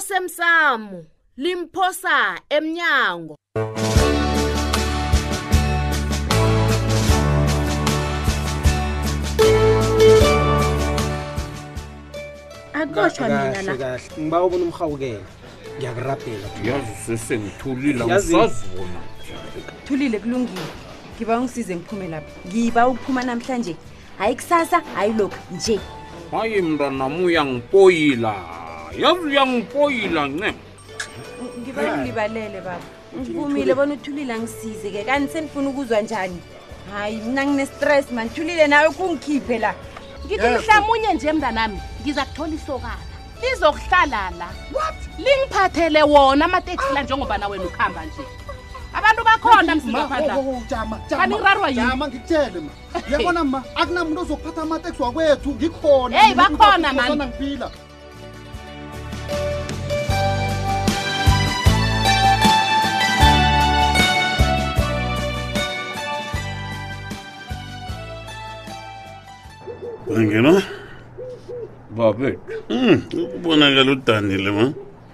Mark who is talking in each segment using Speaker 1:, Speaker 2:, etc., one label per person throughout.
Speaker 1: osemsamo limphosa emnyango
Speaker 2: akoshwa mina la
Speaker 3: kahle ngiba ubona umhawukela ngiyakurabhela
Speaker 4: yazi sesengithulile
Speaker 3: Yazi-
Speaker 4: angisazona
Speaker 2: thulile kulungile ngiba ungisize ngiphume lapha ngiba ukuphuma namhlanje hayi kusasa hayi lokhu nje
Speaker 4: hayi mntanam uyangipoyila yazi uyangipoyila ncem
Speaker 2: ngiba ngilibalele baba ngivumile bona uthulile angisize ke kanti senifuna ukuzwa njani hayi mina ngine-stress mani thulile nawe kungikhiphe la
Speaker 5: ngithi mhlamunye nje mntanami ngiza kuthola isokana lizokuhlala la lingiphathele wona amateksi la njengoba na wena ukuhamba nje abantu bakhona
Speaker 6: Oh,
Speaker 7: oh,
Speaker 5: msingaphandla Kanirarwa yini?
Speaker 7: ngikutshele ma yabona ma akunamuntu ozokuphatha amateksi wakwethu ngikhona
Speaker 5: Hey, bakhona, man.
Speaker 7: ngiphila
Speaker 8: angena
Speaker 4: babethu
Speaker 8: Hmm, ukubonakala udanile ma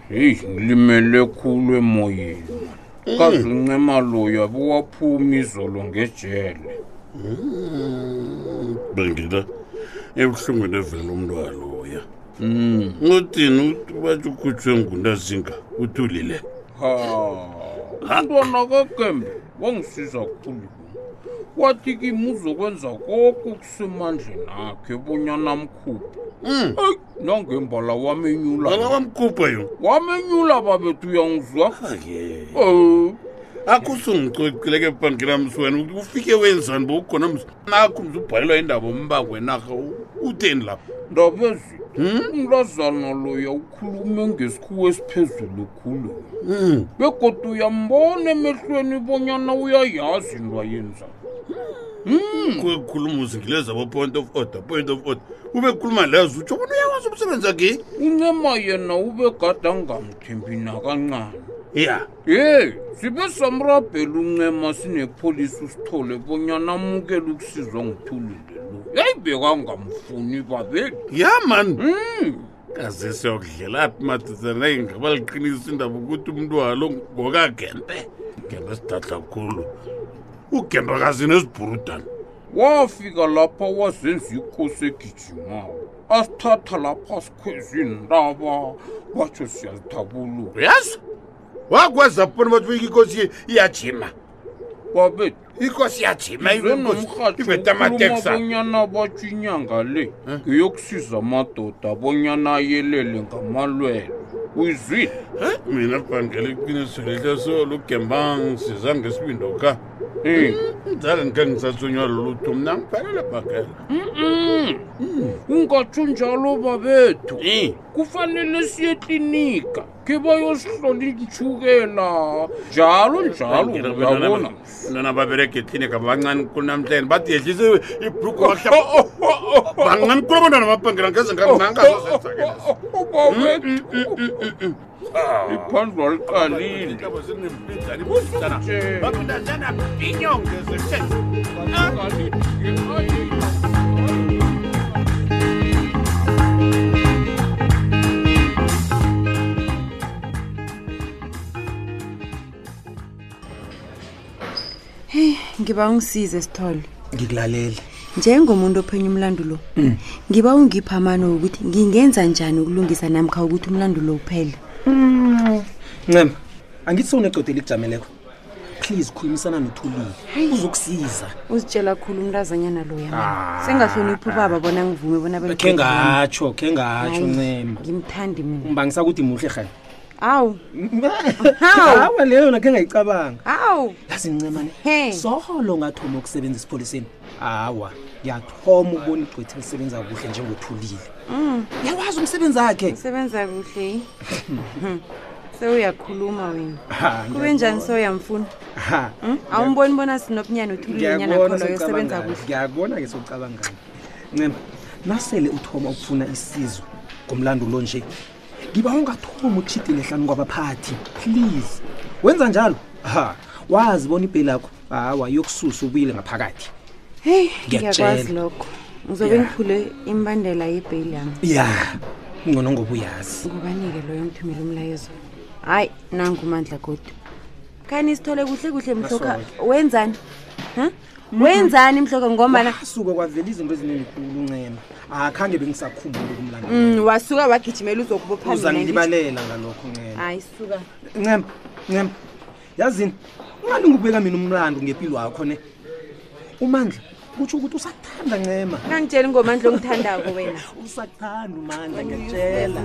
Speaker 4: heyi ngilimele khulu emoyeni man. kazi uncema loya buwaphuma izolo ngejele
Speaker 8: bengila ebuhlungwini evela umntwaloya uthini batsho ukhutshwe ngunazinga uthulile
Speaker 4: ha umntwana kagembe wangisiza khulu wathi kimi uzokwenza koke okusemandleni akhe bonyana mkhuphi
Speaker 8: Hmm,
Speaker 4: eyi nangembala wamenyula
Speaker 8: bala wamkhupha yo
Speaker 4: wamenyula babethu uyangizwa Eh,
Speaker 8: akho usungicocileke pangilamsi wena ukuthi ufike wenzani bowukhona mzi nakho mzi ubhalelwa indaba mbakwenarha utheni Hmm? lapha
Speaker 4: ndabezi umlazana loya ukhulume ngesikhuwa esiphezulu khulu
Speaker 8: Hmm.
Speaker 4: begodwa uyambona emehlweni bonyana uyayazi into ayenza
Speaker 8: kukhuluma uzingileza bo-point of order point of order ube khuluma lezo utsho bona uyawazi umsebenzi akhe
Speaker 4: uncema yena ube gada ngamthembi nakancane
Speaker 8: ya
Speaker 4: ye sibe samrabhela uncema sinepholisi usithole bonyana amukele ukusizwa nguthulile lo yeyi bekangamfuni babethu
Speaker 8: ya mani kaze siyokudlelaphi madizana ingaba liqinisa indaba ukuthi umntu walo ngokagembe gembe sidadla khulu ugembe kazinesibhurudana
Speaker 4: wafika lapha wazenza ikosi egijimayo asithatha lapha sikhweza indaba batsho siyazithabulula
Speaker 8: uyazi wakwazi bona bathi buyika ikosi iyajima
Speaker 4: babethu
Speaker 8: ikosi iyajima iveta amateksa
Speaker 4: nomrhatshukhulumabonyana batsho inyanga le ngeyokusiza amadoda abonyana ayelele ngamalwele uyizwile
Speaker 8: mina bhangela iqiniso lihle solo ugemba ngisiza ngesibindo ka
Speaker 4: Eh,
Speaker 8: mdala ndikhe ngisathunywa lolutho mna ngiphelela bhangela
Speaker 4: ungatsho njalo babethu
Speaker 8: Eh.
Speaker 4: kufanele siye eklinika khe bayosihlola intshukela njalo njalo uyabona
Speaker 8: ntwana babereke eklinika bancane kulu namhlanje bathi yehlise ibruku
Speaker 4: oh,
Speaker 8: bancane kulu abantwana babhangela ngeze
Speaker 4: oh,
Speaker 8: ngangangazozenzakelaiphadlwa
Speaker 4: iphandlwa liqalile
Speaker 2: ngiba ungisize sithole
Speaker 3: ngikulalele
Speaker 2: njengomuntu ophenya umlando lo ngiba ungipha amano wokuthi ngingenza njani ukulungisa namkha ukuthi umlando lo uphele
Speaker 3: ncema angithi sewunecodo elikujameleko please khulumisana nothulile uzokusiza
Speaker 2: uzitshela khulu umntazanyana loya sengahloniphi ubaba bona ngivume bona
Speaker 3: khe
Speaker 2: bengicede bona.
Speaker 3: ngatsho khe
Speaker 2: Hayi,
Speaker 3: ngatsho ncema
Speaker 2: ngimthandi mina
Speaker 3: mbangisakuthi muhle hayi
Speaker 2: awu
Speaker 3: hawa leyo yona khe ngayicabanga
Speaker 2: awu
Speaker 3: yazi ncemane
Speaker 2: He.
Speaker 3: solo ngathoma ukusebenza esipholiseni hawa ngiyathoma ukubona igqwethi lisebenza kuhle njengothulile
Speaker 2: Mm.
Speaker 3: uyawazi umsebenzi akhe
Speaker 2: sebenza kuhle eh? sewuyakhuluma wena
Speaker 3: Ha,
Speaker 2: kube njani soyamfuna
Speaker 3: Ha,
Speaker 2: awumboni bona sinobunyana uthulinyana
Speaker 3: ngiyakubona
Speaker 2: khona yosebenza
Speaker 3: sewucabangani.
Speaker 2: kuhle
Speaker 3: ngiyakubona-ke sowucabangani ncema nasele uthoma ukufuna isizo ngomlando lo nje ngiba ungathomi ukushidile hlanu kwabaphathi please wenza njalo ha wazi bona ipeli yakho hawa yokususa ubuyile ngaphakathi
Speaker 2: heyi
Speaker 3: Ngiyakutjela.
Speaker 2: ngiyakwazi lokho ngizobe
Speaker 3: Ya.
Speaker 2: ngiphule imbandela yebheyili yami
Speaker 3: ya ngcono ngoba uyazi
Speaker 2: ngobanike loyo ngithumela umlayezo hayi nangumandla kodwa khani sithole kuhle kuhle mhloka wenzani ha wenzani mhloka ngombana
Speaker 3: asuke kwavela izinto eziningi khulu uncema akhange bengisakhumbuli kumlandela
Speaker 2: Mm, wasuka wagijimela uzokubopha mina ngithi-
Speaker 3: uzangilibalela ngalokho ncema
Speaker 2: hayi suka
Speaker 3: ncema ncema yazini ungalingi ukubeka mina umlando ngempilo wakho ne umandla kutsho ukuthi usakuthanda ncema
Speaker 2: kangitsheli ngomandla ongithandako wena
Speaker 3: usakuthanda umandla ngiyatshela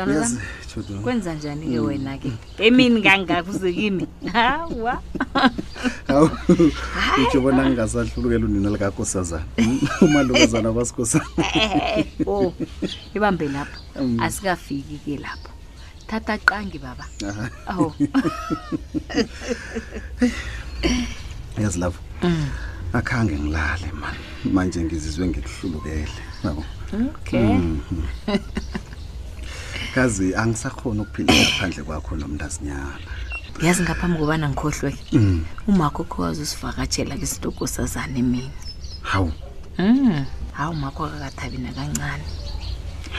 Speaker 9: Yes, Jodwa. kwenza njani-ke wena-ke emini kangaka uze kimi hawa
Speaker 6: hawu utsho bona ngingasahlulukela unina likakosazana umalukazana kwasikosana
Speaker 9: o ibambe lapho asikafiki-ke lapho thatha qangi baba aw
Speaker 6: yazi lapho
Speaker 5: Mm.
Speaker 6: akhange ngilale mani manje ngizizwe ngikuhlulukele yabo Mm-hmm.
Speaker 9: okay
Speaker 6: kazi angisakhona ukuphila ngaphandle kwakho nomntazinyana
Speaker 9: yazi ngaphambi kobana ngikhohlweke umakho khowazi usivakatshela kwisitokosazane mina
Speaker 6: hawu
Speaker 9: Mm. hawu makho akakathabi nakancane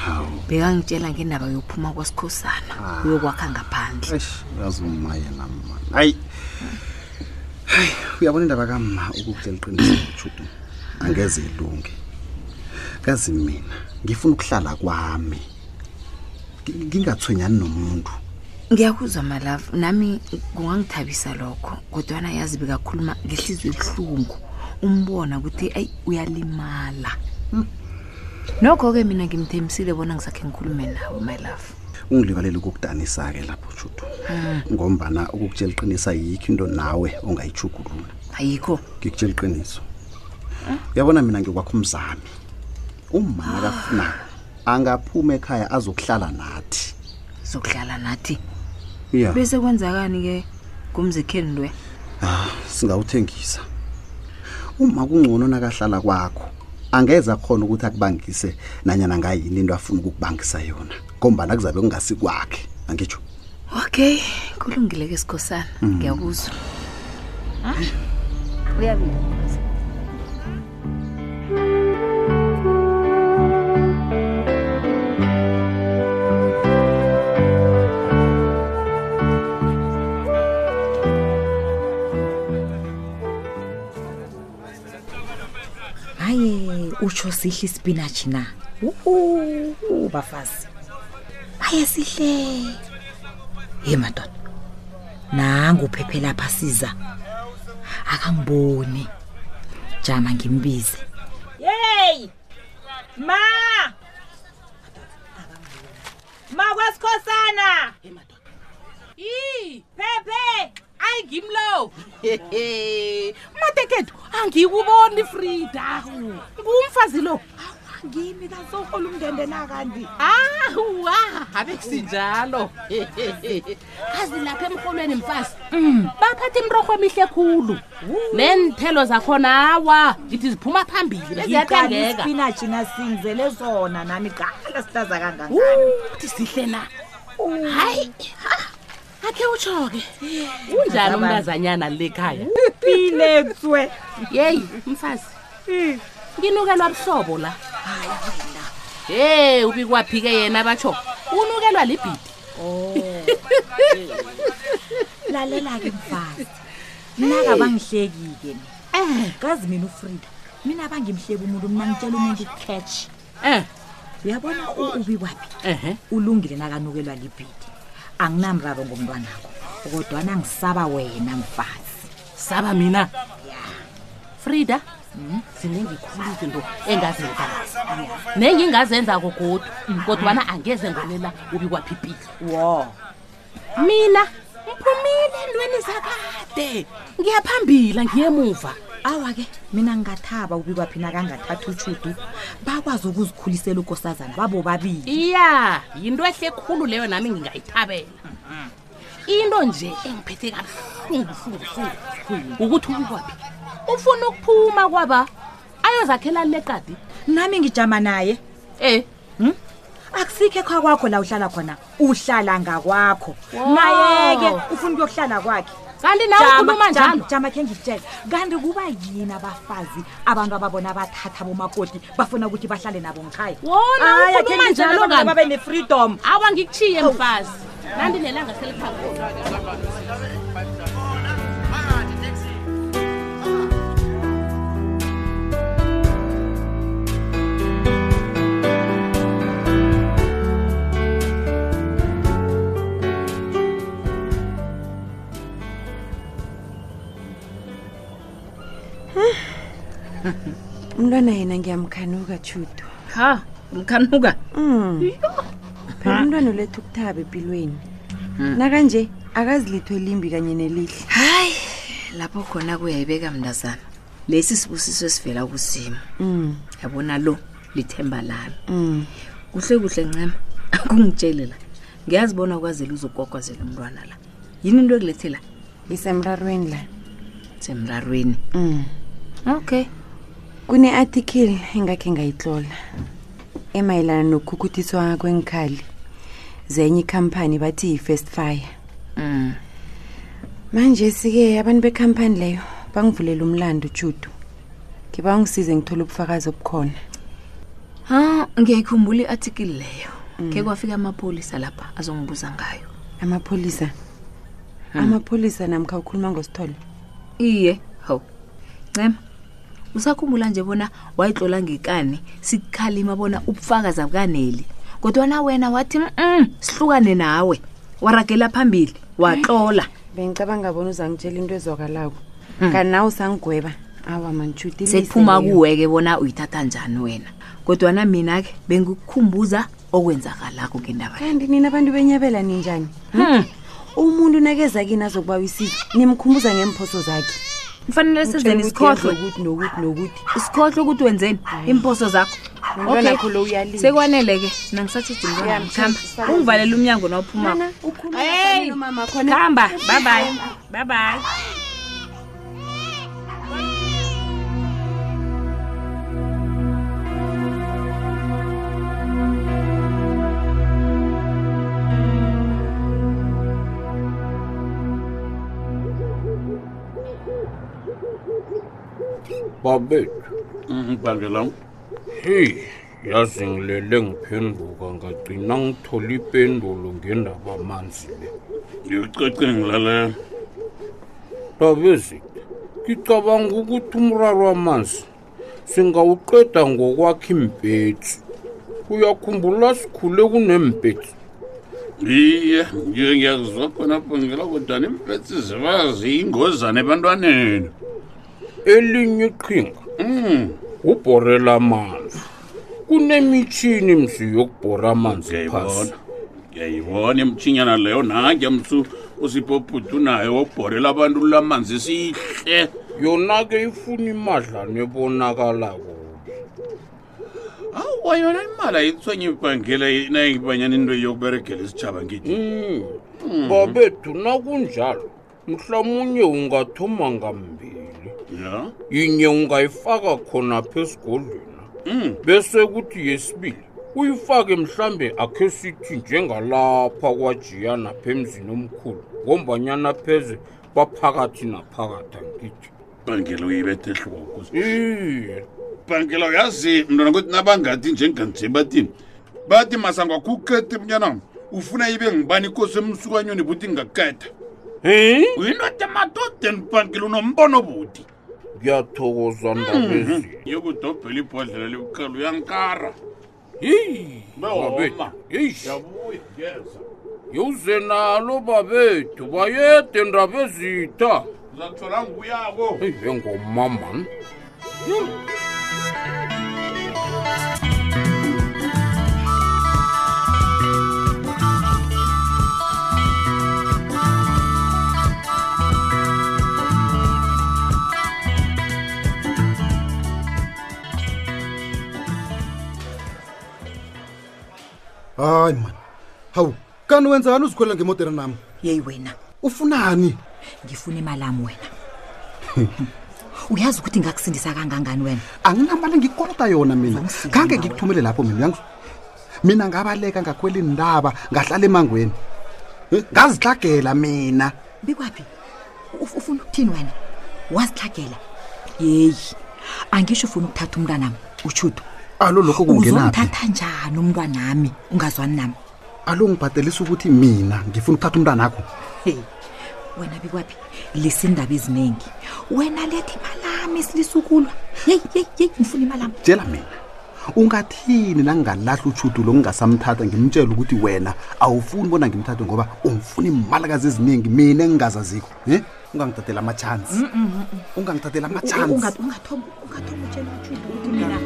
Speaker 6: hawu
Speaker 9: bekangitshela ngendaba yokuphuma kwasikhosana uyokwakha ngaphandle
Speaker 6: eish yazi uma yena mani hayi hayi uyabona indaba kama ukukutshela iqiniso judu angeze ilunge kazi mina ngifuna ukuhlala kwami Ngi- ngingathonyani nomuntu
Speaker 9: ngiyakuzwa malava nami kungangithabisa lokho kodwana yazi bekakhuluma ngehliziyo ebuhlungu umbona ukuthi ayi uyalimala nokho-ke mina ngimthembisile bona ngisakhe ngikhulume nawe my love
Speaker 6: ungilibaleli ukukudanisa-ke lapho judu ngombana ukukutshela iqiniso ayikho into nawe ongayijugulula
Speaker 9: ayikho
Speaker 6: ngikutshela iqiniso uyabona mina ngikwakho umzami uma nakafunako angaphuma ekhaya azokuhlala nathi
Speaker 9: zokudlala nathi
Speaker 6: ya
Speaker 9: bese kwenzakani-ke kumzikheni lwe
Speaker 6: singawuthengisa uma kungcono nakahlala kwakho angeza khona ukuthi akubangise nanyana ngayini into afuna ukukubangisa yona ngombana kuzabe kungasikwakhe angitsho
Speaker 9: okay kulungile-ke sikhosana ngiyakuzwa uyabili
Speaker 10: hayi utsho sihle isipinatshi na uhu bafazi haye sihle ye madoda nangu uphephe lapha siza akangiboni jama ngimbize
Speaker 2: yeyi ma ma kwasikhosana
Speaker 5: yi
Speaker 2: phephe
Speaker 5: ayi ngimlo matekethu angikuboni frida ngumfazi lo Awa, ngimi kasohola umndende nakandi awa abe kusinjalo kazi lapha emrholweni mfazi baphatha imrorho emihle khulu neenthelo zakhona awa ngithi ziphuma phambili beziyathengeka
Speaker 10: isipinatshi nasingizele sona nami qala sihlaza kanganga
Speaker 5: uthi sihle na hayi ha, akhe utsho-ke unjani umntazanyana le khaya
Speaker 10: piletswe
Speaker 5: yeyi mfazi nginukelwa buhlobo la he ubikwaphi-ke yena batsho unukelwa libhidi
Speaker 10: lalela-ke mfazi mina kabangihleki-ke
Speaker 5: Eh.
Speaker 10: mina kazi mina ufrida mina abangimhleki umuntu mina ngitshela umuntu catch
Speaker 5: um
Speaker 10: uyabona u- ubi kwaphi
Speaker 5: ehe
Speaker 10: ulungile nakanukelwa libhidi anginamraro ngomntwanakho kodwana ngisaba wena mfazi
Speaker 5: saba mina frida
Speaker 10: Hmm?
Speaker 5: zinengikhulu izinto engazenzayo nengingazenzako kodwa kodwana angeze ngolela ubikwaphi ipilo
Speaker 10: wo
Speaker 5: mina ngiphumile endweni zakade ngiyaphambila ngiyemuva
Speaker 10: awa-ke mina ngingathaba ubi kwaphi nakangathatha utshudu bakwazi ukuzikhulisela ukosazana babo babili
Speaker 5: iya yinto ehle khulu leyo nami ngingayithabela into nje engiphethe kabuhlunguhlunguhlungu ukuthi ukwaphi ufuna ukuphuma kwaba ayozakhela leqadi
Speaker 10: nami ngijama naye
Speaker 5: eh
Speaker 10: hm? akusikho ekhwa kwakho la uhlala khona uhlala ngakwakho naye-ke ufuna ukuyokuhlala kwakhe
Speaker 5: kanti nawe
Speaker 10: Jama,
Speaker 5: ukhuluma
Speaker 10: jama,
Speaker 5: njalo?
Speaker 10: jama khe ngikutshele kanti kuba yini abafazi abantu ababona bathatha bomakoti bafuna ukuthi bahlale nabo ngikhaya
Speaker 5: Wona
Speaker 10: Haya,
Speaker 5: ukhuluma
Speaker 10: khe ngitjele
Speaker 5: njalo
Speaker 10: abantu
Speaker 5: kabi.
Speaker 10: babe ne-freedom
Speaker 5: awa ngikuchiye mfazi nandinelanga seliphakona
Speaker 2: umntwana yena ngiyamkhanuka chudo
Speaker 5: ha mkhanuka
Speaker 2: um phela umntwana letha ukuthaba empilweni nakanje akazilitho elimbi kanye nelihle
Speaker 9: hayi lapho khona kuyayibeka mntazana lesi sibusiso esivela kuzimo
Speaker 2: um
Speaker 9: yabona lo lithemba lami
Speaker 2: um
Speaker 9: kuhle kuhle ncema akungitshele la ngiyazi bona ukwazela uzokwakwazela umntwana la yini into ekulethe la
Speaker 2: isemrarweni la
Speaker 9: semrarweni
Speaker 2: um
Speaker 9: okay
Speaker 2: kune-athikile engakhe ngayitlola emayelana nokukhukuthiswa kwenkhali zenye ikhampani bathi yi-first fire
Speaker 9: mm.
Speaker 2: manje sike abantu bekhampani leyo bangivulela umlando judu ngiba ungisize ngithole ubufakazi obukhona
Speaker 9: ha ngiyayikhumbula i-athikili leyo ke kwafika amapholisa lapha azongibuza ngayo
Speaker 2: amapholisa Hmm. amapholisa namkha ukhuluma ngosithole
Speaker 9: iye hawu ncema usakhumbula nje bona wayitlola ngekani sikukhalima bona ubufakazi abukaneli kodwana wena wathi mm sihlukane nawe waragela phambili waxola
Speaker 2: bengicabanga bona uzangitshela into ezwakalako kanti nawe usangigweba awa manitshuti
Speaker 9: sekuphuma kuweke bona uyithatha njani wena kodwana mina-ke bengikukhumbuza okwenzakalako ngendaba le.
Speaker 2: kanti nina abantu benyabela ninjani
Speaker 9: Hmm.
Speaker 2: umuntu nakeza kini azokuba wisizo nimkhumbuza ngemphoso zakhe
Speaker 9: kufanele senzeni isikhohlwe
Speaker 2: ukuthi nokuthi nokuthi
Speaker 9: isikhohlwe ukuthi wenzeni imposo zakho
Speaker 2: Nomntwana
Speaker 9: Okay.
Speaker 2: wakho lo uyalila.
Speaker 9: sekwanele-ke nangisathidi mntwanamkhamba ungivalela umnyango nawuphumako
Speaker 2: hey
Speaker 9: khamba babayi babayi
Speaker 4: babethu
Speaker 8: mbangelam
Speaker 4: heyi yazi ngilele ngiphenduka ngagcina ngithole ipendulo ngendaba amanzi le
Speaker 8: ndiwucece ngilalelo
Speaker 4: dabezitha ngicabanga ukuthi umraro wamanzi singawuqeda ngokwakha impetsi uyakhumbula sikhule kunempetsi
Speaker 8: iye ngiye ngiyakuzwa khonapho ngela kodwa nimpetsi ziba ziyingozane ebantwaneni
Speaker 4: elinye iqhinga mm,
Speaker 8: um
Speaker 4: ubhorela amanzi kunemitshini msi yokubhora amanzi phasi
Speaker 8: ngiyayibona ngiyayibona imtshinyana leyo nanke msu usiphophutha unayo wobhorela abantu lamanzi sihle
Speaker 4: yona ke ifuna imadlana ebonakalako
Speaker 8: awa yona imali ayithonye ibhangele nayengibanyana into yokuberegela isitshaba ngithi
Speaker 4: Mm. babethu nakunjalo mhlawumunye ungathoma ngambili
Speaker 8: ya
Speaker 4: yinye ungayifaka khona phesigodlweni
Speaker 8: um
Speaker 4: bese kuthi yesibili uyifake mhlambe akhe sithi njengalapha kwajiya napha emzini omkhulu ngombanyana pheze baphakathi naphakathi angithi
Speaker 8: bhangela uyibethe ehloko
Speaker 4: iye
Speaker 8: bhangela uyazi mntwana kuthi nabangathi njenganje bathini bathi masangwakhukete mnyanam ufuna ibe ngibani ikosi emsukanyweni buthi ngaketha
Speaker 4: em
Speaker 8: uyindoda emadodeni bhangela unombono buti
Speaker 4: ngiyathokoza ndabezi
Speaker 8: yokudobhela ibhodlela lebukhalo uyankara
Speaker 4: yeyi
Speaker 8: Bewoma.
Speaker 4: yeyi
Speaker 8: yabuya ngeza
Speaker 4: yewuze nalo babethu bayede ndaba ezitha
Speaker 8: uzathola nguyako
Speaker 4: engomamani
Speaker 7: hayi mani hawu kanti wenzani uzikhwelela ngemodera nami
Speaker 10: yeyi wena
Speaker 6: ufunani
Speaker 10: ngifuna imalami wena uyazi ukuthi ngakusindisa kangangani wena
Speaker 6: anginamali ngikoloda yona mina khange ngikuthumele lapho mina uyangiz- mina ngabaleka ngakhwela indaba ngahlala emangweni Eh, ngazihlagela mina
Speaker 10: bikwaphi Uf- ufuna ukuthini wena wazihlagela yeyi angisho ufuna ukuthatha umntwanami utshudo
Speaker 6: alo lokho kungenaphi
Speaker 10: uzomthatha njani umntwanami ungazwani nami
Speaker 6: alo ngibhadelisa ukuthi mina ngifuna ukuthatha umntwana akho
Speaker 10: heyi wena bikwaphi lisa iindaba eziningi wena letha imalami silisukulwa yeyi yeyi yeyi ngifuna imalami
Speaker 6: tshela mina ungathini nangingalahla utshudu lo ngingasamthatha ngimtshela ukuthi wena awufuni bona ngimthathe ngoba ungifuna imalakazi eziningi mina engingazazikho um ungangithathela ama-chance ungangithathela ama-chance
Speaker 10: ungathoma ungathoma utshela utshudo ukuthi mina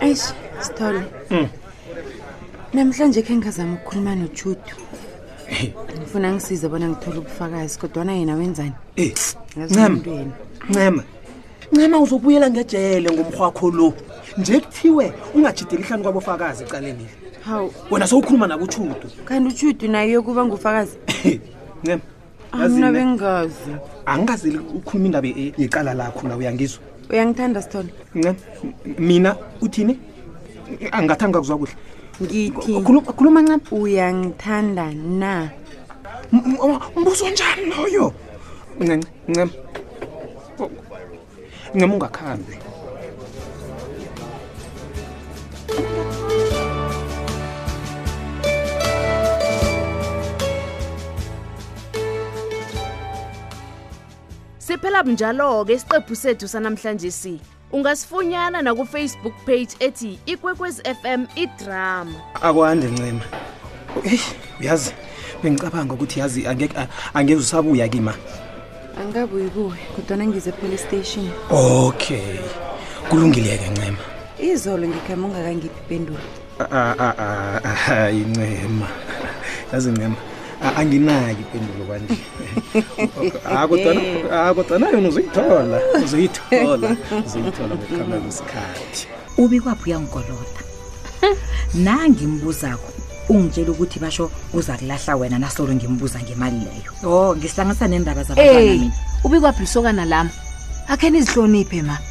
Speaker 2: eish sithole namhlanje khe ngingazama ukukhuluma nojudu ngifuna ngisize bona ngithole ubufakazi kodwana yena wenzani
Speaker 3: Eh,
Speaker 2: Yazi
Speaker 3: Ncema.
Speaker 2: umuntu yena.
Speaker 3: ncema ncema uzobuyela ngejele ngomrhwakho lo nje kuthiwe ungajideli hlanu kwabofakazi ecaleni
Speaker 2: hawu
Speaker 3: wena sowukhuluma nakutshudu
Speaker 2: kanti ujudu naye yokuba ngufakazi
Speaker 3: Eh, ncema Ah,
Speaker 2: amna bengazi
Speaker 3: angingazeli ukhuluma indaba ye- yecala lakho la uyangizwa
Speaker 2: uyangithanda sithole
Speaker 3: ncema mina uthini angingathanga kuzwa kuhle
Speaker 2: ngithi
Speaker 3: khuluma ncema
Speaker 2: uyangithanda na
Speaker 3: mbuzo njani loyo ncema ncema ncema ungakhambi
Speaker 11: siphela bunjalo-ke isiqephu sethu sanamhlanje si ungasifunyana nakufacebook page ethi ikwekwezi fm idrama
Speaker 3: akwande ncema eyi uyazi bengicabanga ukuthi yazi angeke- a- angeze usabuya kima
Speaker 2: angabuyi kuwe kodwana ngize epolice station
Speaker 3: okay kulungileke ncema
Speaker 2: izolo ngikhama ungakangiphi pendulo
Speaker 3: A- a- a- a- a- hayi ncema yazi ncema a- anginaki impendulo kwanje Ah, kodwana- ah, kodwana yona uzoyithola uzoyithola uzoyithola ngokuhamba kwesikhathi
Speaker 10: ubikwaphi uyangikoloda nangimbuzakho ungitshela ukuthi basho uza kulahla wena nasolo ngimbuza ngemali leyo o ngihlanganisa neendaba Oh, zabantwana mina
Speaker 9: ubikwaphi lisokana lami akhe nizihloniphe ma